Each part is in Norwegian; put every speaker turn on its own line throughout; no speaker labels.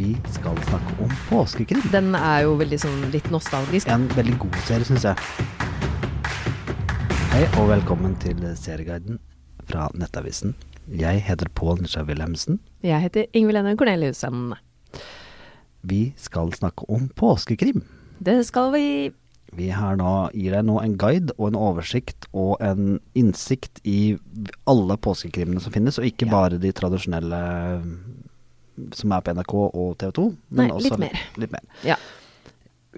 vi skal snakke om påskekrim.
Den er jo veldig sånn litt nostalgisk.
En veldig god serie, syns jeg. Hei og velkommen til Serieguiden fra Nettavisen. Jeg heter Pål Nisja Wilhelmsen.
Jeg heter Ingvild Enne Corneliussen.
Vi skal snakke om påskekrim.
Det skal vi
Vi har nå, gir deg nå en guide og en oversikt og en innsikt i alle påskekrimene som finnes, og ikke
Ja.
bare de tradisjonelle eh, som er på NRK og TV 2.
Nei, litt mer.
litt mer.
Ja.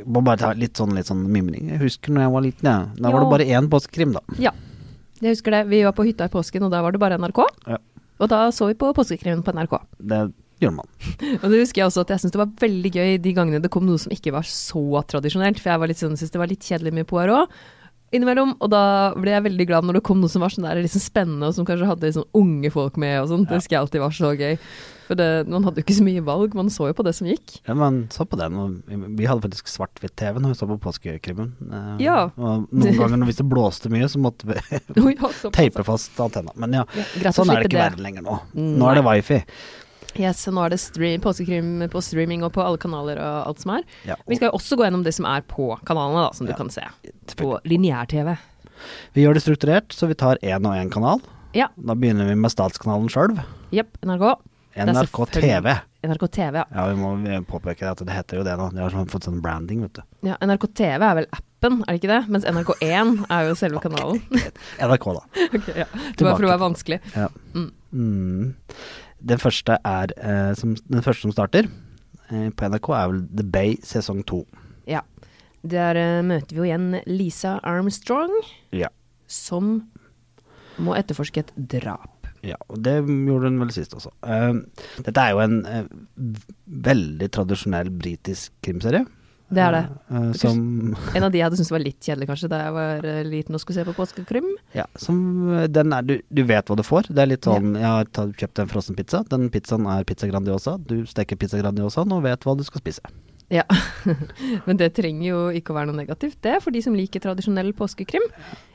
Må bare ta litt sånn, litt sånn mimring. Jeg husker når jeg var liten, jeg. Da var
Ja.
det bare én påskekrim, da.
ja. Jeg husker det. Vi var på hytta i påsken, og da var det bare NRK.
Ja.
Og da så vi på Påskekrimmen på NRK.
Det gjorde man.
Og det husker jeg også at jeg syntes det var veldig gøy de gangene det kom noe som ikke var så tradisjonelt. For jeg var litt sånn, syntes det var litt kjedelig med Poirot innimellom. Og da ble jeg veldig glad når det kom noe som var sånn der liksom spennende, og som kanskje hadde liksom unge folk med og sånn. Det husker jeg alltid var så gøy. For det, man hadde jo ikke så mye valg, man så jo på det som gikk.
Ja, man så på den. og vi- Vi hadde faktisk svart-hvitt-TV når vi så på påskekrimmen. Eh,
Ja.
Og noen ganger når hvis det blåste mye, så måtte vi
Oi, ja, såpass.
teipe fast antenna. Men ja,
Ja, greit å
sånn er det
slippe
ikke i verden lenger nå. Nå er det wifi.
Yes, og nå er det stream, påskekrim på streaming og på alle kanaler og alt som er.
Ja,
Vi skal jo også gå gjennom det som er på kanalene, da, som
Ja,
du kan se.
selvfølgelig.
På lineær-TV.
Vi gjør det strukturert, så vi tar én og én kanal.
Ja.
Da begynner vi med statskanalen sjøl.
Jepp, NRK. Det er
NRK TV.
selvfølgelig- NRK TV, ja.
Ja, vi må påpeke at det heter jo det nå. De har sånn fått sånn branding, vet du.
ja. NRK TV er vel appen, er det ikke det? Mens NRK1 er jo selve kanalen.
NRK, da.
Ok, ja. Det var for å være vanskelig.
Ja. Mm. Den første er eh, som, Den første som starter eh, på NRK, er vel The Bay sesong to.
Ja. Der eh, møter vi jo igjen Lisa Armstrong,
Ja.
som må etterforske et drap.
ja. Og det gjorde den vel sist også. Eh, dette er jo en eh, veldig tradisjonell britisk krimserie.
Det er det.
Eh, eh, som
En av de jeg hadde syntes var litt kjedelig, kanskje, da jeg var eh, liten og skulle se på påskekrim.
Ja, som eh, den er du, du vet hva du får. Det er litt sånn Jeg har ta- kjøpt en frossen pizza. Den pizzaen er pizza grandiosa. Du steker pizza grandiosaen og vet hva du skal spise.
Ja, men det trenger jo ikke å være noe negativt, det, for de som liker tradisjonell påskekrim.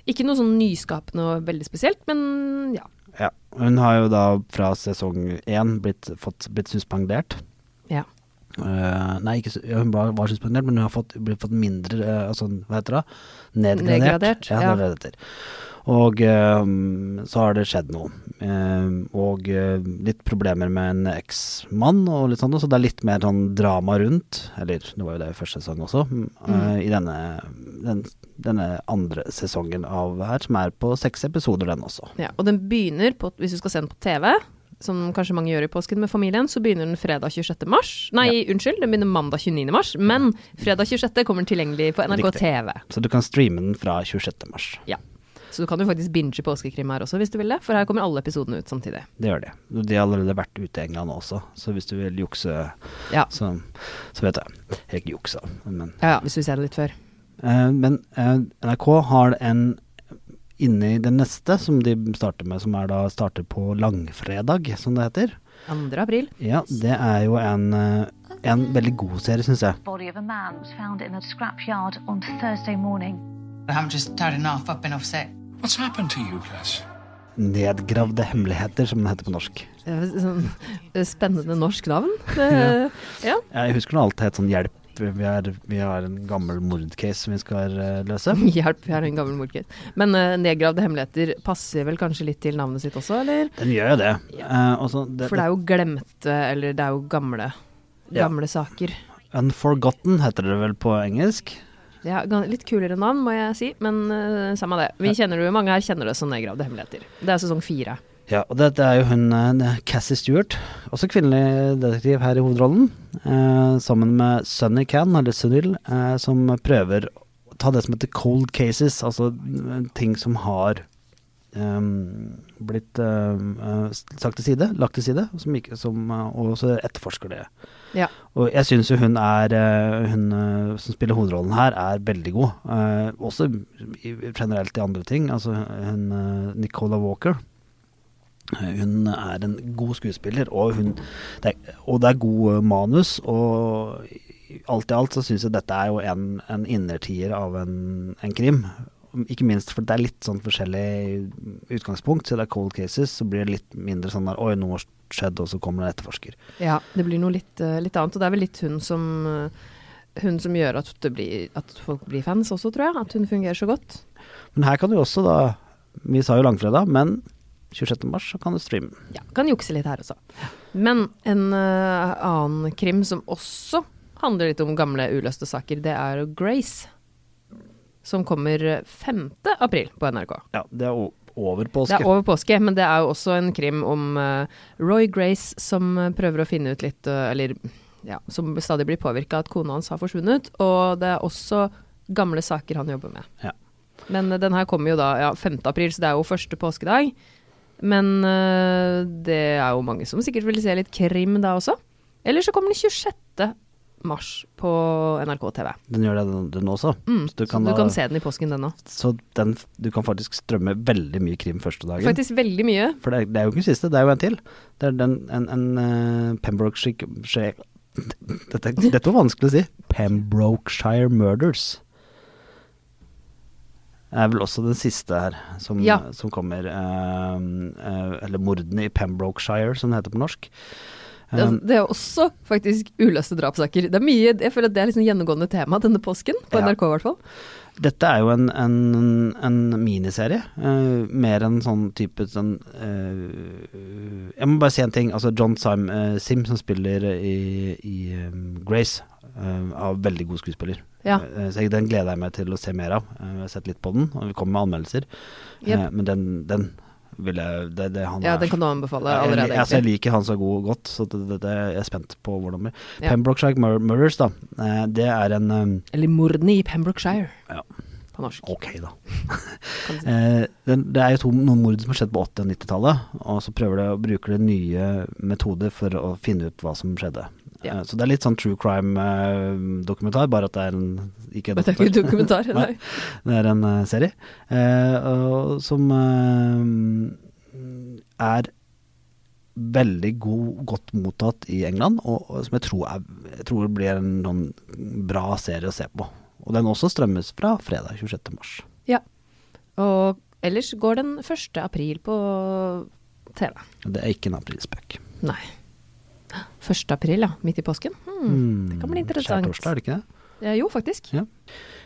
Ikke noe sånn nyskapende og veldig spesielt, men ja.
Ja. Hun har jo da fra sesong én blitt, fått, blitt suspendert.
ja.
Eh, nei, ikke, su- ja, hun var, var suspendert, men hun har fått, blitt fått mindre eh, altså, Hva heter det? Nedgradert.
Nedgradert,
ja.
ja.
det er det det heter. Og eh, så har det skjedd noe. Eh, og eh, litt problemer med en eksmann og litt sånn, så det er litt mer sånn drama rundt. Eller det var jo det i første sesong også. mm, eh, I denne, den, denne andre sesongen av her, som er på seks episoder, den også.
ja. Og den begynner, på, hvis du skal se den på TV, som kanskje mange gjør i påsken med familien, så begynner den fredag 26. mars. Nei, unnskyld, den begynner mandag 29. mars, men fredag 26. kommer den tilgjengelig på NRK
Riktig.
TV.
Så du kan streame den fra 26. mars.
Ja. Så du kan jo faktisk binge påskekrim her også, hvis du vil det, for her kommer alle episodene ut samtidig.
Det gjør de. De har allerede vært ute i England også, så hvis du vil jukse
Ja.
Så, så vet jeg. Jeg er ikke juksa, men
Ja, ja, hvis du ser det litt før.
Eh, Men eh, NRK har en inni den neste, som de starter med, som er da starter på langfredag, som det heter.
2. april.
Ja, det er jo en, eh, en veldig god serie, syns jeg.
body of a man was found in a scrapyard on Thursday morning.
I haven't just had enough. I've been offset.
What's happened to you, Cass?
'Nedgravde hemmeligheter', som den heter på norsk.
Det er Sånn eh, spennende norsk navn. Det, ja.
Jeg husker når alt het sånn 'Hjelp, vi har, vi har en gammel mordcase som vi skal eh, løse'.
Hjelp, jeg er en gammel morkis. Men eh, nedgravde hemmeligheter passer vel kanskje litt til navnet sitt også, eller?
Den gjør jo det. Eh, og så det,
For det er jo glemte, eller det er jo gamle,
Ja.
gamle saker.
'Unforgotten' heter det vel på engelsk.
Det er gan- litt kulere navn, må jeg si, men eh, samme det. Vi kjenner det jo, mange her kjenner det som nedgravde hemmeligheter. Det er sesong fire.
Ja, og dette er jo hun eh, Cassie Stewart, også kvinnelig detektiv her i hovedrollen, eh, sammen med Sunny Can, eller Sunil, eh, som prøver å ta det som heter cold cases, altså mm, ting som har ehm, blitt eh, eh, sagt til side, lagt til side, som ikke, som, eh, og så etterforsker det.
Ja.
Og jeg syns jo hun er eh, Hun eh, som spiller hovedrollen her, er veldig god. Eh, også i, generelt i andre ting. Altså hun eh, Nicola Walker. eh, Hun er en god skuespiller, og, hun, det er, og det er god eh, manus. Og i- alt i alt så syns jeg dette er jo en, en innertier av en, en krim. Ikke minst fordi det er litt sånn forskjellig utgangspunkt. Så det er cold cases, så blir det litt mindre sånn der Oi, noe har skjedd, og så kommer det en etterforsker.
Ja, det blir noe litt, eh, litt annet. Og det er vel litt hun som, eh, hun som gjør at, det blir, at folk blir fans også, tror jeg. At hun fungerer så godt.
Men her kan du også, da Vi sa jo langfredag, men 26. mars så kan du streame. den.
Ja, kan jukse litt her også. Men en eh, annen krim som også handler litt om gamle uløste saker, det er Grace. Som kommer eh, 5. april på NRK.
Ja, det er o- over påske.
Det er over påske, men det er jo også en krim om eh, Roy Grace som eh, prøver å finne ut litt eh, Eller ja, som stadig blir påvirka at kona hans har forsvunnet. Og det er også gamle saker han jobber med.
Ja.
Men eh, den her kommer jo da ja, 5. april, så det er jo første påskedag. Men eh, det er jo mange som sikkert vil se litt krim da også. Eller så kommer den 26. mars på NRK TV.
Den gjør det den, den også. så du kan,
Mm, så du
da-
kan se den i påsken, den òg.
så den, du kan faktisk strømme veldig mye krim første dagen.
Faktisk veldig mye.
For det, er- det er jo ikke den siste, det er jo en til. Det er den, en, en eh, Pembrokeshire skje- dette, dette var vanskelig å si. Pembrokeshire Murders. Det er vel også den siste her, som,
Ja.
som kommer. eh, eh, eller 'Mordene i Pembrokeshire', som det heter på norsk.
Det er, altså,
Eh,
det er også faktisk uløste drapssaker. Det er mye, jeg føler at det er liksom gjennomgående tema denne påsken, på
Ja.
NRK i hvert fall.
Dette er jo en, en, en miniserie, eh, mer en sånn type sånn eh, Jeg må bare si en ting. Altså John Sim, eh, Sim som spiller i, i eh, Grace, eh, er veldig god skuespiller.
Ja.
Eh, så jeg, den gleder jeg meg til å se mer av. Eh, jeg har sett litt på den, og vi kommer med anmeldelser. Eh,
Jep.
men den, den vil jeg det, det, han
Ja,
er
den kan du
ja,
anbefale
jeg,
allerede.
li- altså, jeg
egentlig.
liker han så god godt, så det, det, det, jeg er spent på hvordan det blir.
Ja.
Pembrokeshire Mur- Murders, da. eh, det er en eh,
Eller mordene i Pembrokeshire.
Ja.
På norsk.
Ok, da.
Kan du si.
Eh, det, det er jo to, noen mord som har skjedd på 80- og 90-tallet, og så prøver de å bruke de nye metoder for å finne ut hva som skjedde.
Ja.
Eh, så det er litt sånn true crime-dokumentar, bare at det er en ikke
Men det er ikke dokumentar.
Nei.
Nei.
det er en eh, serie eh, og, som eh, er veldig god, godt mottatt i England, og, og som jeg tror, er, jeg tror blir en sånn bra serie å se på. Og den også strømmes fra fredag 26. mars.
Ja. Og ellers går den 1. april på TV.
Det er ikke en aprilspøk.
Nei. 1. april, ja. Midt i påsken. Hmm. Det kan bli interessant.
Skjærtorsdag, Mm. er det ikke det?
Ja, jo, faktisk.
Ja.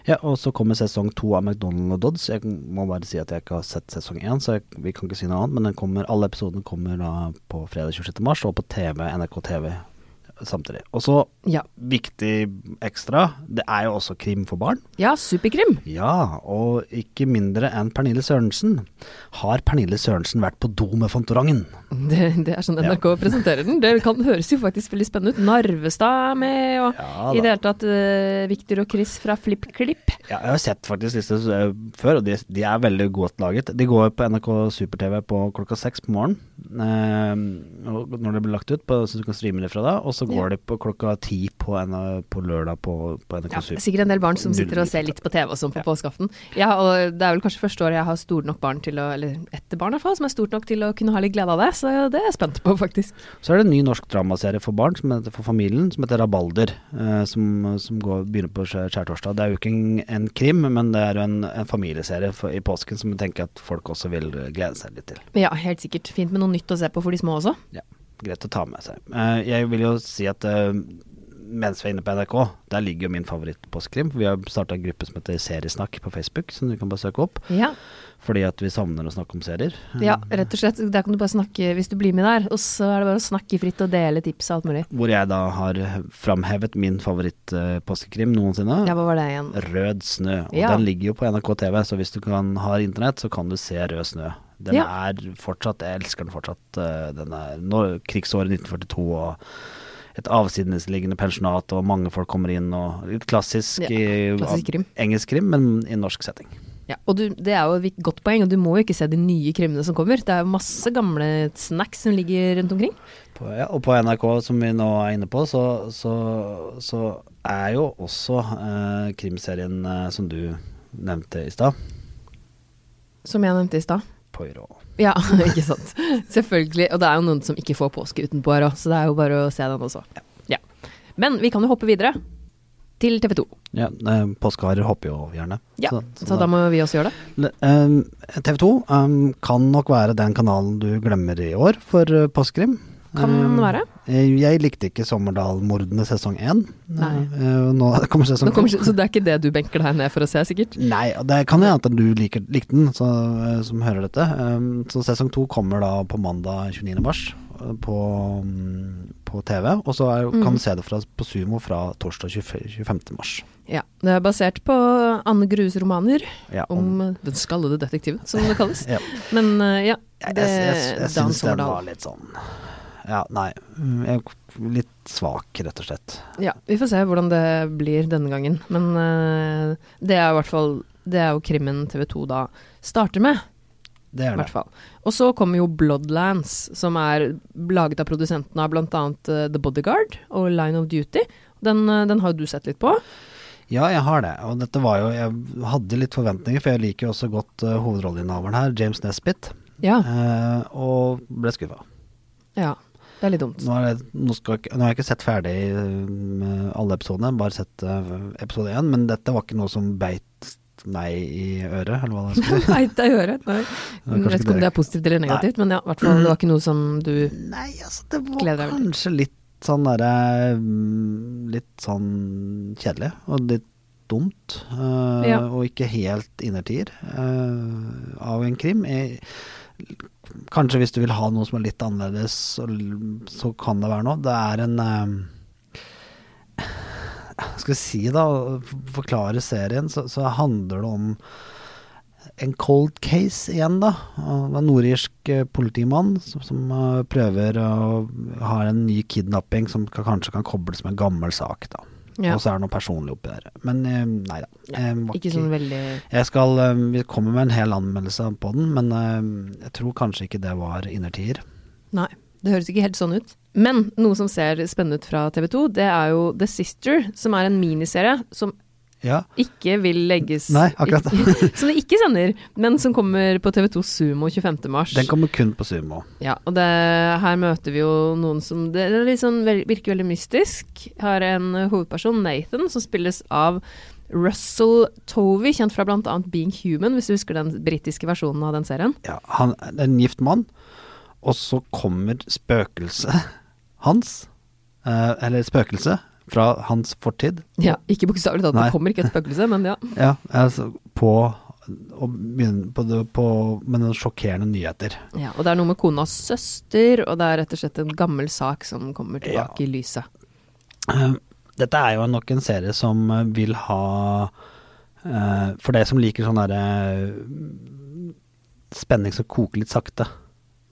ja, og så kommer sesong to av McDonald og Dodds. Jeg må bare si at jeg ikke har sett sesong én, så jeg, vi kan ikke si noe annet. Men den kommer, alle episodene kommer da på fredag 26. mars, og på TV, NRK TV samtidig. Og så,
Ja.
viktig ekstra, det er jo også krim for barn.
ja, superkrim.
Ja, og ikke mindre enn Pernille Sørensen. Har Pernille Sørensen vært på do med Fantorangen?
Det, det er sånn NRK presenterer den. Det kan høres jo faktisk veldig spennende ut. Narvestad er med, og
Ja,
i
da.
det hele tatt eh, Victor og Chris fra FlippKlipp.
Ja, jeg har sett faktisk disse eh, før, og de, de er veldig godt laget. De går på NRK Super-TV på klokka seks på morgenen. eh, og når det blir lagt ut, på, så du kan streame det fra da. Og så går det på klokka ti på, N- på lørdag på, på NRK
Ja,
Super.
sikkert en del barn som sitter og ser litt på TV og sånn på påskeaften. Ja, og det er vel kanskje første året jeg har stort nok barn til å, eller ett barn i hvert fall, som er stort nok til å kunne ha litt glede av det, så det er jeg spent på faktisk.
Så er det en ny norsk dramaserie for barn, som heter, for familien, som heter Rabalder. eh, som som går, begynner på skjær- skjærtorsdag. Det er jo ikke en, en krim, men det er jo en, en familieserie for, i påsken som jeg tenker at folk også vil eh, glede seg litt til.
Men ja, helt sikkert fint med noe nytt å se på for de små også.
Ja, greit å ta med seg. Eh, jeg vil jo si at eh, mens vi er inne på NRK, der ligger jo min favoritt-postkrim. Vi har starta en gruppe som heter Seriesnakk på Facebook, som du kan bare søke opp.
Ja.
Fordi at vi savner å snakke om serier. Eh,
ja, rett og slett. Der kan du bare snakke hvis du blir med der, og så er det bare å snakke fritt og dele tips og alt mulig.
Hvor jeg da har framhevet min favoritt-postkrim noensinne.
Ja, hva var det igjen?
Rød snø. Og
Ja.
den ligger jo på NRK TV, så hvis du kan, har internett, så kan du se Rød snø. Den
Ja.
er fortsatt, jeg elsker den fortsatt. eh, Den er nå, krigsåret 1942 og et avsidesliggende pensjonat, og mange folk kommer inn og Litt klassisk
Ja,
i
klassisk krim.
engelsk krim, men i norsk setting.
Ja, og du, Det er jo et godt poeng, og du må jo ikke se de nye krimene som kommer. Det er jo masse gamle snacks som ligger rundt omkring.
På, ja, og på NRK, som vi nå er inne på, så, så, så er jo også eh, krimserien eh, som du nevnte i stad,
Som jeg nevnte i stad.
Poirot.
Ja, ikke sant. Selvfølgelig. Og det er jo noen som ikke får påske utenpå her òg, så det er jo bare å se den også. Ja. Men vi kan jo hoppe videre til TV 2.
Ja, eh, påskeharer hopper jo gjerne.
Ja, så, Sånn, da må vi også gjøre det.
ehm, TV 2 ehm, kan nok være den kanalen du glemmer i år for eh, Påskekrim.
Kan
Eh,
være.
eh, Jeg likte ikke Sommerdal-mordene sesong én.
Nei.
Eh, Nå kommer sesong
Nå kommer,
to.
ikke- så det er ikke det du benker deg ned for å se, sikkert?
Nei, og det kan hende at du liker, likte den, så, eh, som hører dette. Um, Så sesong to kommer da på mandag 29. mars eh, på, mm, på TV. Og så er,
Mm.
kan du se det fra, på Sumo fra torsdag 25. 25. mars.
Ja. Det er basert på Anne Grues romaner
Ja,
om eh, den skallede detektiven, som det kalles.
Ja.
Men eh, ja,
Jeg,
det
jeg, jeg, jeg
Dan
syns den
Sommerdal.
var litt sånn Ja, nei. mm, Jeg, litt svak, rett og slett.
Ja, vi får se hvordan det blir denne gangen. Men eh, det er jo i hvert fall Det er jo krimmen TV 2 da starter med,
Det
i
er det.
hvert fall. Og så kommer jo Bloodlands, som er laget av produsentene av bl.a. Uh, The Bodyguard og Line of Duty. Den, eh, den har jo du sett litt på.
Ja, jeg har det. Og dette var jo Jeg hadde litt forventninger, for jeg liker jo også godt eh, hovedrolleinnehaveren her, James Nesbitt,
Ja.
eh, og ble skuffa.
ja. Det er litt dumt.
Nå, er det, nå, skal, ikke- nå har jeg ikke sett ferdig um, alle episodene, bare sett uh, episode én, men dette var ikke noe som beit meg i øret, eller hva det skal si.
Nei, det gjør jeg. Nei.
var kanskje
Jeg vet ikke
ikke
om det er positivt eller negativt, men ja, i hvert fall det var ikke noe som du
Nei, altså, det var
Gleder deg veldig.
kanskje litt sånn derre um, Litt sånn kjedelig, og litt dumt, uh,
Ja.
og ikke helt innertier uh, av en krim. Jeg, kanskje hvis du vil ha noe som er litt annerledes, så, så kan det være noe. Det er en um, hva skal vi si da, for- forklare serien, så, så handler det om en cold case igjen, da. Av En nordirsk eh, politimann som, som eh, prøver å ha en ny kidnapping som ka- kanskje kan kobles med en gammel sak, da.
ja,
Og så er det noe personlig oppi der. Men eh, nei da. eh, var
Ikke sånn veldig
jeg skal, eh, Vi kommer med en hel anmeldelse på den, men eh, jeg tror kanskje ikke det var innertier.
Nei, det høres ikke helt sånn ut. Men noe som ser spennende ut fra TV 2, det er jo The Sister, som er en miniserie som
Ja.
ikke vil legges
Nei, akkurat.
Som de ikke sender, men som kommer på TV 2 Sumo 25. mars.
Den kommer kun på Sumo.
Ja, og det, her møter vi jo noen som Det det er litt sånn vel- virker veldig mystisk. Har en eh, hovedperson, Nathan, som spilles av Russell Tovey, kjent fra bl.a. Being Human, hvis du husker den britiske versjonen av den serien.
ja, han det er en gift mann, og så kommer spøkelset hans, eh, eller spøkelse fra hans fortid,
Ja, Ikke bokstavelig talt,
Nei.
det kommer ikke et spøkelse, men ja.
ja, altså på, og begynner på, det, på med noen sjokkerende nyheter.
Ja, og det er noe med konas søster, og det er rett og slett en gammel sak som kommer tilbake i lyset.
Eh, Dette er jo nok en serie som eh, vil ha eh, For deg som liker sånn derre mm, spenning som koker litt sakte.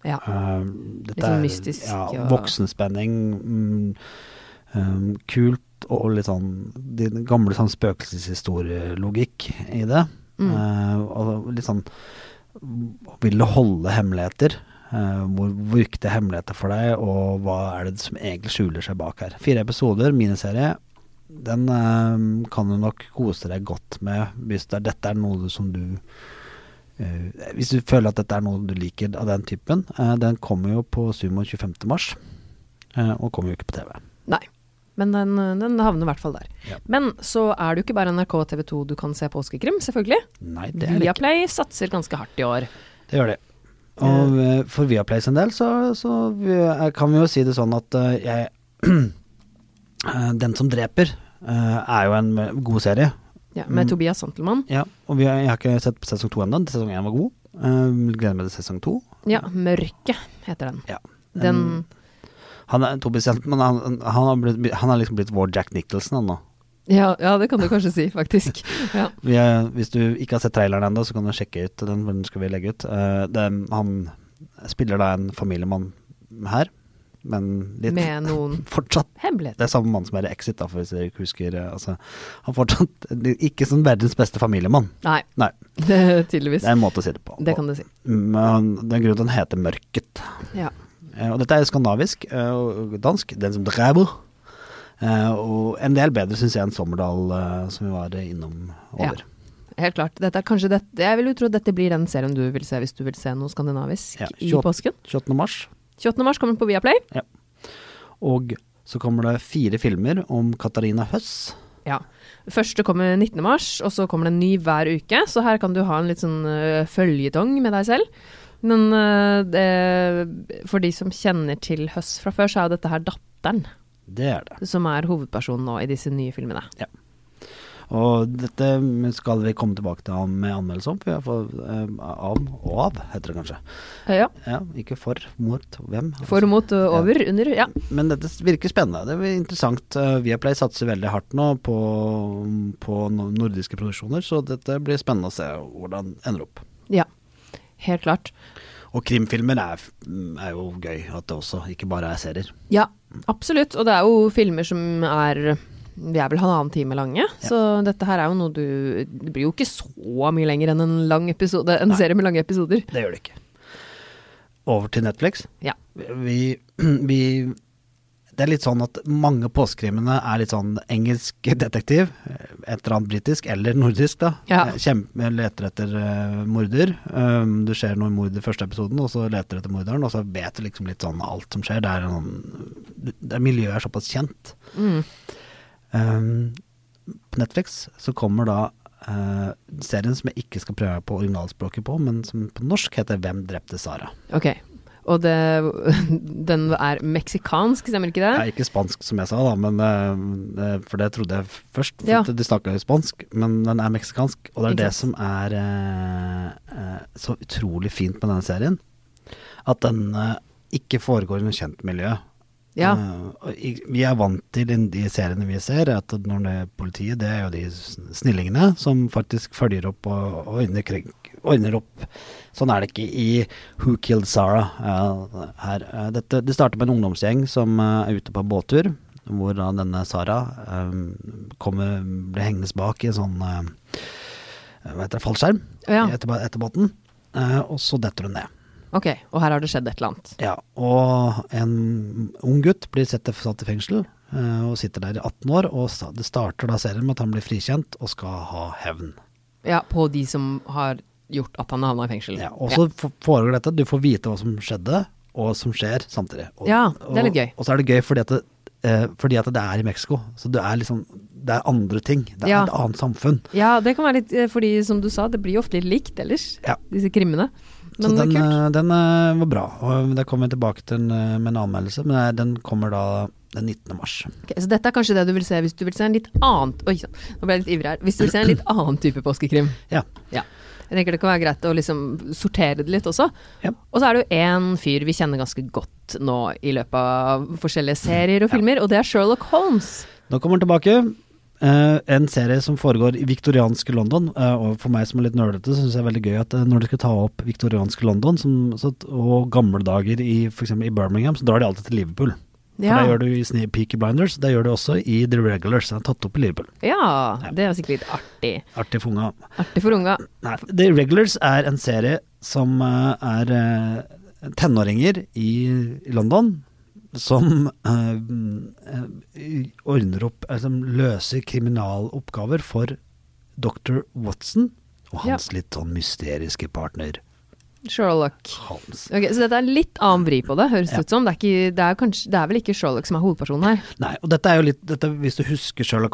Ja.
Eh, dette
Litt sånn
er-
mystisk
Ja,
og-
voksenspenning. Mm, um, kult og litt sånn de gamle sånn spøkelseshistorielogikk i det. Eh, og litt sånn Vil det holde hemmeligheter? Eh, hvor hvor viktige hemmeligheter for deg, og hva er det som egentlig skjuler seg bak her? Fire episoder, miniserie. Den eh, kan du nok kose deg godt med hvis det er, dette er noe som du Eh, hvis du føler at dette er noe du liker av den typen, eh, den kommer jo på Sumo 25. mars, eh, og kommer jo ikke på TV.
Nei. Men den, den havner i hvert fall der.
Ja.
Men så er det jo ikke bare NRK og TV 2 du kan se påskekrim, selvfølgelig.
Nei, det er det ikke.
Viaplay satser ganske hardt i år.
Det gjør de. Og eh, for Viaplay sin del så, så vi- eh, kan vi jo si det sånn at eh, jeg eh, Den som dreper eh, er jo en god serie.
Ja, med Tobias Santelmann.
Mm. Ja, og vi, har- jeg har ikke sett på sesong to ennå. Sesong én var god. Eh, gleder meg til sesong to.
Ja, Mørket heter den.
Ja.
Den
Han er Tobias Hjeltmann, han, han, har blitt- han har liksom blitt vår Jack Nicholson, han nå.
ja, ja, det kan du kanskje si, faktisk. Ja.
Vi er, hvis du ikke har sett traileren ennå, så kan du sjekke ut den. for Den skal vi legge ut. Eh, det, han spiller da en familiemann her, men litt
Med noen
fortsatt
hemmeligheter.
Det er samme mann som er i Exit, da, for hvis dere ikke husker. eh, Altså, han er fortsatt ikke som verdens beste familiemann.
Nei,
Nei,
det,
det
tydeligvis.
er en måte å si det på.
Det kan du si.
Men det er en grunn til at den heter Mørket.
Ja.
Eh, Og dette er skandinavisk eh, og dansk. Den som dreper. Eh, Og en del bedre, syns jeg, enn Sommerdal, eh, som vi var eh, innom over.
Helt klart. Dette er kanskje det, jeg vil jo tro at dette blir den serien du vil se hvis du vil se noe skandinavisk
Ja,
i
28.
påsken.
28. mars
28. mars kommer den på Viaplay.
Og så kommer det fire filmer om Katarina Høss,
Ja. Første kommer 19. mars, og så kommer det en ny hver uke. Så her kan du ha en litt sånn øh, føljetong med deg selv. Men øh, det, for de som kjenner til Høss fra før, så er jo dette her datteren
Det er det.
som er hovedpersonen nå i disse nye filmene.
Og dette skal vi komme tilbake til han med anmeldelse om, for jeg får eh, av og av, heter det kanskje.
Ja.
Ja, ikke for, mot, hvem. Altså,
For og mot, øh, over, under. Ja.
Men dette virker spennende. Det blir interessant. Eh, Viaplay satser veldig hardt nå på, på no- nordiske produksjoner, så dette blir spennende å se hvordan det ender opp.
ja. Helt klart. Og
Krimfilmer er, er jo gøy at det også, ikke bare er serier.
Ja, absolutt. Og det er jo filmer som er vi er vel halvannen time lange, så dette her er jo noe du Det blir jo ikke så mye lenger enn en, lang episode, en serie med lange episoder.
Det gjør det ikke. Over til Netflix.
Ja.
Vi, vi Det er litt sånn at mange påskekrimene er litt sånn engelsk detektiv, eh, et eller annet britisk, eller nordisk, da.
Ja.
Eh, Kjem, leter etter eh, morder. Um, du ser noe mord i første episoden, og så leter du etter morderen, og så vet du liksom litt sånn alt som skjer. Det er noen, det, miljøet er såpass kjent.
Mm.
Um, på Netflix så kommer da eh, serien som jeg ikke skal prøve meg på originalspråket på, men som på norsk heter 'Hvem drepte Sara'.
Ok. Og det, den er meksikansk, stemmer ikke
Det
det?
er ikke spansk som jeg sa, da, men, eh, det- for det trodde jeg f- først. For
Ja.
at De snakka jo spansk, men den er meksikansk. Og det er
Ikke
det som er eh, eh, så utrolig fint med denne serien. At den eh, ikke foregår i noe kjent miljø.
Ja.
Eh, og i- vi er vant til i de seriene vi ser, at når det er politiet, det er jo de sn- snillingene som faktisk følger opp og, og ordner, krig, ordner opp. Sånn er det ikke i Who Killed Sarah eh, her. Eh, dette, det starter med en ungdomsgjeng som eh, er ute på en båttur, hvor da denne Sara eh, kommer, blir hengende bak i en sånn eh, hva heter det, fallskjerm
Ja.
etter, ba- etter båten, eh, og så detter hun ned.
Ok, og her har det skjedd et eller annet.
Ja, og en ung gutt blir sett, satt i fengsel eh, og sitter der i 18 år, og sta- det starter da serien med at han blir frikjent og skal ha hevn.
Ja, på de som har gjort at han havna i fengsel.
Ja, og så f- foregår dette, du får vite hva som skjedde og som skjer samtidig. Og,
Ja, det er litt gøy.
Og, og så er det gøy fordi at det, eh, fordi at det er i Mexico, så det er liksom, det er andre ting, det er
Ja.
et annet samfunn.
Ja. ja, det kan være litt eh, Fordi som du sa, det blir jo ofte litt likt ellers,
Ja.
disse krimmene.
Så
Men det
den,
er kult.
eh, den eh, var bra, og der kommer vi tilbake til den eh, med en anmeldelse, men eh, den kommer da den 19. mars.
Ok, så dette er kanskje det du vil se hvis du vil se en litt annen Oi sann, nå ble jeg litt ivrig her. Hvis du vil se en litt annen type påskekrim.
Ja,
Ja. Jeg tenker det kan være greit å liksom sortere det litt også.
Ja.
Og så er det jo én fyr vi kjenner ganske godt nå i løpet av forskjellige serier og filmer, og det er Sherlock Holmes.
Nå kommer den tilbake. Eh, en serie som foregår i viktorianske London. eh, og for meg som er litt nerdete, syns jeg er veldig gøy at eh, når de skal ta opp viktorianske London som, så, og gamle dager i f.eks. i Birmingham, så drar de alltid til Liverpool.
Ja.
For det gjør du i Sne Peaky Blinders, det gjør du også i The Regulars. Den er tatt opp i Liverpool.
Ja, det er jo sikkert litt artig.
Artig for unga.
Artig for unga.
Nei, The Regulars er en serie som eh, er eh, tenåringer i, i London som eh, mm, eh, ordner opp altså, løser kriminaloppgaver for dr. Watson og hans litt sånn mysteriske partner
Sherlock.
Holmes.
Ok, så dette er litt annen vri på det, høres det
Ja.
ut som. Det er, ikke, det, er kanskje, det er vel ikke Sherlock som er hovedpersonen her.
Nei, og dette er jo litt dette, Hvis du husker Sherlock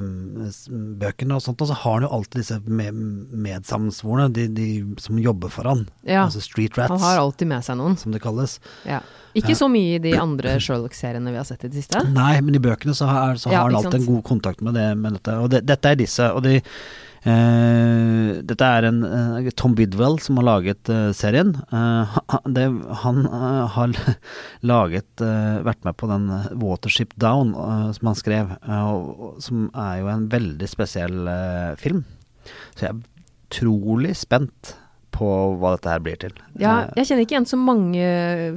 Holmes-bøkene og sånt, så har han jo alltid disse med, medsammensvorne, de, de som jobber for han.
Ja.
Altså street rats,
Han har alltid med seg noen.
som det kalles.
Ja. Ikke så mye i de andre Sherlock-seriene vi har sett i det siste.
Nei, men i bøkene så, er, så
Ja,
har han
ikke
alltid en
sant.
god kontakt med, det, med dette. Og det, dette er disse. Og de, eh, dette er en eh, Tom Bidwell som har laget eh, serien. Eh, ha- det, han eh, har laget eh, vært med på den eh, Watership Down eh, som han skrev, eh, og, og, som er jo en veldig spesiell eh, film. Så jeg er utrolig spent på hva dette her blir til.
Ja,
Eh,
jeg kjenner ikke igjen så mange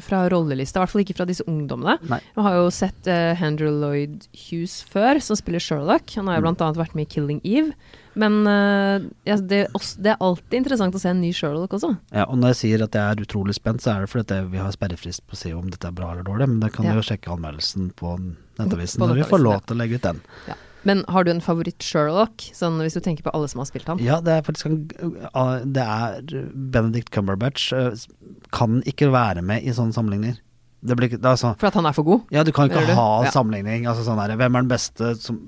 fra rollelista, i hvert fall ikke fra disse ungdommene.
Nei.
Vi har jo sett eh, Andrew Lloyd Hughes før, som spiller Sherlock. Han har jo blant annet vært med i 'Killing Eve'. Men eh, ja, det, er også, det er alltid interessant å se en ny Sherlock også.
Ja, og når jeg sier at jeg er utrolig spent, så er det fordi at jeg- vi har sperrefrist på å si om dette er bra eller dårlig, men det kan
Ja.
du jo sjekke anmeldelsen på Nettavisen
På
når vi
Nettavisen,
får lov
ja.
til å legge ut den.
Ja. Men har du en favoritt-Sherlock, sånn hvis du tenker på alle som har spilt han?
Ja, det er faktisk en, ah, Det er Benedict Cumberbatch eh, s- kan ikke være med i sånne sammenligninger. Det blir ikke det er sånn
For at han er for god?
Ja, du kan ikke
Hører du?
ha
Ja.
sammenligning. Altså sånn her, hvem er den beste som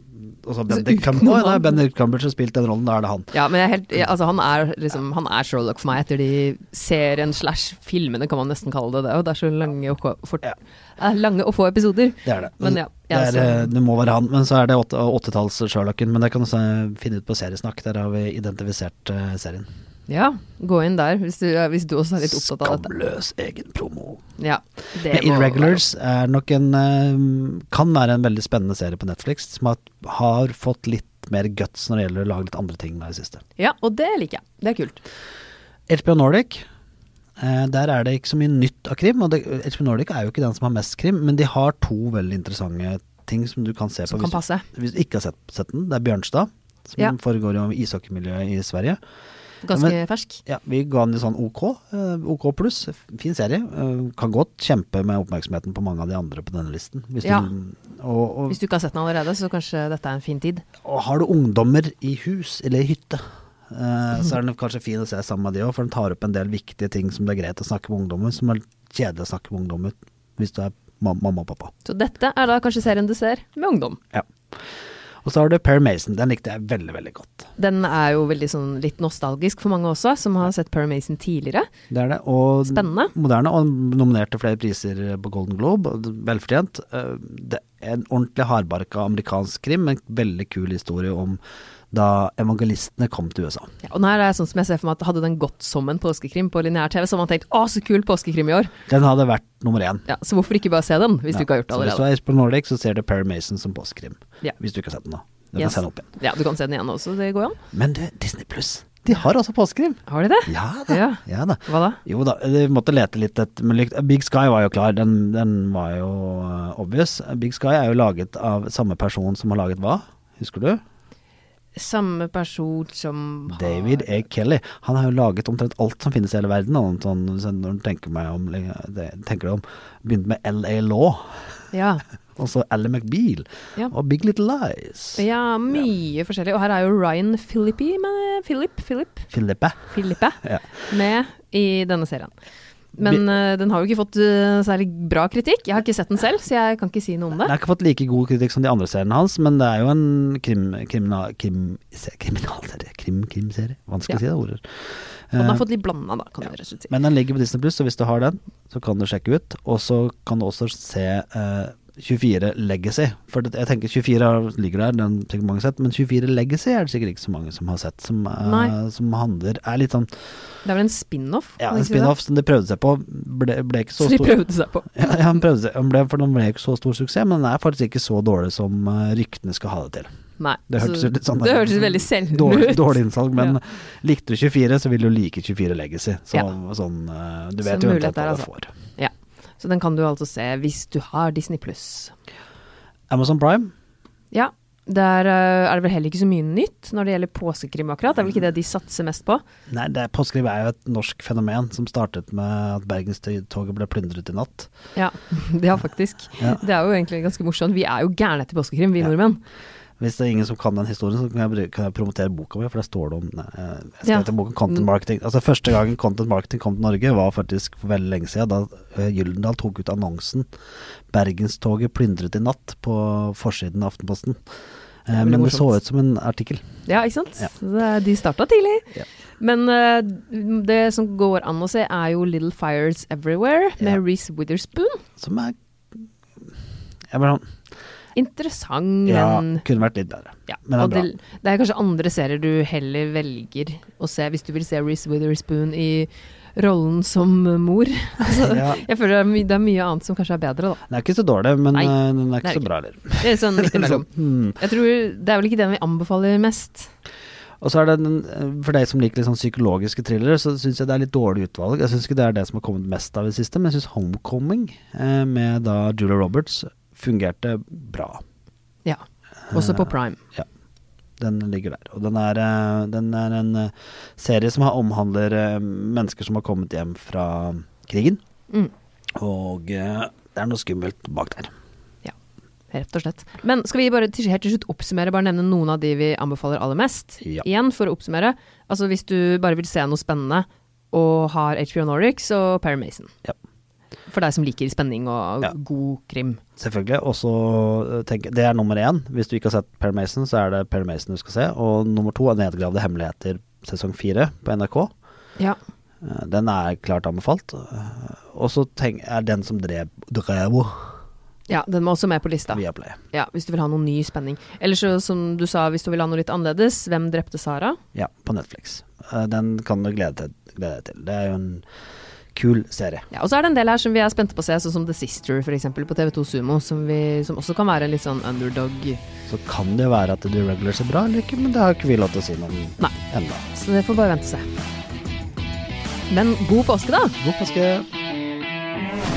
altså Bendik Cumberbatch
utenom
Nei,
han.
Bendik Cumberbatch har spilt den rollen, da er det han.
Ja, men jeg er helt, jeg, altså, han, er liksom, han er Sherlock for meg etter de serien slash filmene, kan man nesten kalle det det. Og det er så lange og, ko- fort,
Ja.
eh, lange og få episoder.
Det er det.
Men ja,
det,
jeg
er, eh, det må være han. Men så er det åtte- åttetalls-Sherlocken. Men det kan du også finne ut på Seriesnakk. Der har vi identifisert eh, serien.
Ja, gå inn der hvis du, eh, hvis du også er litt opptatt av dette.
Skamløs egen promo.
Ja, det
Men
må være
Irregulars er nok en eh, Kan være en veldig spennende serie på Netflix som har, har fått litt mer guts når det gjelder å lage litt andre ting nå i det siste.
lov. Ja, og det liker jeg. Det er kult.
HBO Nordic. eh, der er det ikke så mye nytt av krim. Og det, HBO Nordic er jo ikke den som har mest krim, men de har to veldig interessante ting som du kan se
Som
på
kan
hvis,
passe.
du, hvis du ikke har sett, sett den. Det er Bjørnstad, som
Ja.
foregår jo i ishockeymiljøet i Sverige.
Ganske
Men-
fersk.
Ja, vi ga den jo sånn OK, eh, OK pluss. Fin serie. eh, Kan godt kjempe med oppmerksomheten på mange av de andre på denne listen. Hvis
Ja.
du, og, og,
Hvis du ikke har sett den allerede, så kanskje dette er en fin tid.
og har du ungdommer i hus eller i hytte, eh, så er den kanskje fin å se sammen med de òg, for den tar opp en del viktige ting som det er greit å snakke med ungdommer, som er kjedelig å snakke med ungdommer hvis du er ma mamma og pappa.
Så dette er da kanskje serien du ser med ungdom.
Ja. Og så har du Per Mason. Den likte jeg veldig, veldig godt.
Den er jo veldig sånn litt nostalgisk for mange også, som har sett Perry Mason tidligere.
Det er det. Og
Spennende.
moderne, og nominerte flere priser på Golden Globe. og Velfortjent. Eh, Det er en ordentlig hardbarka amerikansk krim, en veldig kul historie om da evangelistene kom til USA.
Ja, og her er det sånn som jeg ser for meg at hadde den gått som en påskekrim på lineær-TV, så hadde man tenkt å, så kul påskekrim i år.
Den hadde vært nummer én.
Ja, så hvorfor ikke bare se den, hvis
Ja,
du ikke har gjort det
så
allerede.
Hvis du er på Nordic, så ser du Perry Mason som påskekrim.
Ja.
Hvis du ikke har sett den, da. Du
Yes.
kan se den opp igjen.
Ja, du kan se den igjen også, det går jo an.
Men du, Disney Pluss, de har også påskekrim!
Har de det?
Ja da.
Ja.
ja da.
Hva da?
Jo da, vi måtte lete litt etter men likt- Big Sky var jo klar, den, den var jo eh, obvious. Big Sky er jo laget av samme person som har laget hva? Husker du?
Samme person som har
David A. Kelly. Han har jo laget omtrent alt som finnes i hele verden. og Sånn, sånn, når du tenker, meg om, det, tenker deg om Begynte med LA Law,
Ja.
og så Ally McBeal,
Ja.
og Big Little Lies.
ja, mye forskjellig. Og her er jo Ryan Philippi med Philip, Philip,
Philippe.
Philippe
Ja.
med i denne serien. Men
Vi-
eh, den har jo ikke fått eh, særlig bra kritikk. Jeg har ikke sett den selv, så jeg kan ikke si noe om
Den
det.
har ikke fått like god kritikk som de andre seriene hans, men det er jo en krim, krimina, krim, se, kriminalserie. Krim, krimserie. Vanskelig
Ja.
å si det ordet.
Og den
Eh,
har fått litt blanda, da, kan jeg rett og slett si.
Men den ligger på Disney Pluss, så hvis du har den, så kan du sjekke ut. Og så kan du også se eh, 24 Legacy. For det- jeg tenker 24 har- ligger der, den har sikkert mange sett, men 24 Legacy er det sikkert ikke så mange som har sett. Som, eh,
Nei.
som handler Er litt sånn
Det er vel en spin-off?
ja,
kan
en
jeg si det?
spin-off som de prøvde seg på. Ble, ble ikke så
Så de
stor
prøvde seg på.
ja, ja, han prøvde seg, han ble, for den ble ikke så stor suksess, men den er faktisk ikke så dårlig som eh, ryktene skal ha det til.
Nei.
Det hørtes
så-
jo litt sånn
Det hørtes veldig sjelden
Dårlig,
ut.
dårlig innsalg, men
Ja.
likte du 24, så vil du like 24 Legacy. Så,
Ja.
sånn, eh, du
Så
vet jo eventuelt hva
mulighet der,
du
altså.
får.
Ja. Så den kan du altså se hvis du har Disney pluss.
Amazon Prime,
Ja. Der eh, er det vel heller ikke så mye nytt når det gjelder påskekrim, akkurat. Det er vel ikke det de satser mest på.
Nei, det er, påskekrim er jo et norsk fenomen som startet med at Bergenstoget ble plyndret i natt.
Ja, ja faktisk.
Ja.
Det er jo egentlig ganske morsomt. Vi er jo gærne etter påskekrim, vi nordmenn.
Hvis det er ingen som kan den historien, så kan jeg, bruke- kan jeg promotere boka mi, for der står det om nei, eh, Jeg skrev
Ja. Mm.
til boken Content Marketing. Altså Første gangen Content Marketing kom til Norge, var faktisk for veldig lenge siden, da eh, Gyldendal tok ut annonsen 'Bergenstoget plyndret i natt' på forsiden av Aftenposten. Eh,
Ja, veldig
Men det så
morsomt.
ut som en artikkel.
Ja, ikke sant?
Ja.
Så det er- De starta tidlig.
Ja.
Men eh, det som går an å se, er jo Little Fires Everywhere med
Ja.
Reece Witherspoon.
Som er jeg bare, sånn,
Interessant,
Ja,
men
kunne vært litt bedre.
Ja,
Men det er
og det, det er kanskje andre serier du heller velger å se hvis du vil se Reece Witherspoon i rollen som mor. Altså,
Ja.
Jeg føler det er, my det er mye annet som kanskje er bedre, da.
Den er ikke så dårlig, men
Nei,
eh, den er
det
ikke
er
så bra heller.
Det er sånn litt imellom.
Hmm.
Jeg tror Det er vel ikke den vi anbefaler mest.
Og så er det den, For deg som liker litt sånn psykologiske thrillere, så syns jeg det er litt dårlig utvalg. Jeg syns ikke det er det som har kommet mest av i det siste, men jeg syns Homecoming eh, med da Julia Roberts fungerte bra.
Ja. Også på Prime.
Den ligger der. Og den er, eh, den er en eh, serie som har omhandler eh, mennesker som har kommet hjem fra krigen.
Mm.
Og eh, det er noe skummelt bak der.
Ja, rett og slett. Men skal vi bare til, helt til slutt oppsummere, bare nevne noen av de vi anbefaler aller mest?
Ja.
Igjen, for å oppsummere. Altså hvis du bare vil se noe spennende og har HBO Nordics og Perry Mason.
Ja.
for deg som liker spenning og
Ja.
god krim.
Selvfølgelig. Og så eh, tenker jeg Det er nummer én. Hvis du ikke har sett Per Mason, så er det Per Mason du skal se. Og nummer to er Nedgravde hemmeligheter sesong fire på NRK.
Ja.
Eh, Den er klart anbefalt. Eh, Og så tenk, er den som drev Drevo
ja, den må også med på lista.
via Play.
Ja, Hvis du vil ha noe ny spenning. Eller så, som du sa, hvis du vil ha noe litt annerledes, Hvem drepte Sara?
Ja, på Netflix. Eh, Den kan du glede deg- glede deg til. Det er jo en kul serie.
Ja, Og så er det en del her som vi er spente på å se, sånn som The Sister for eksempel, på TV2 Sumo, som, vi, som også kan være en litt sånn underdog.
Så kan det jo være at The Regulars er bra eller ikke, men det har ikke vi lov til å si noe om
Nei.
ennå.
Så det får bare vente og se. Men god påske, da!
God påske.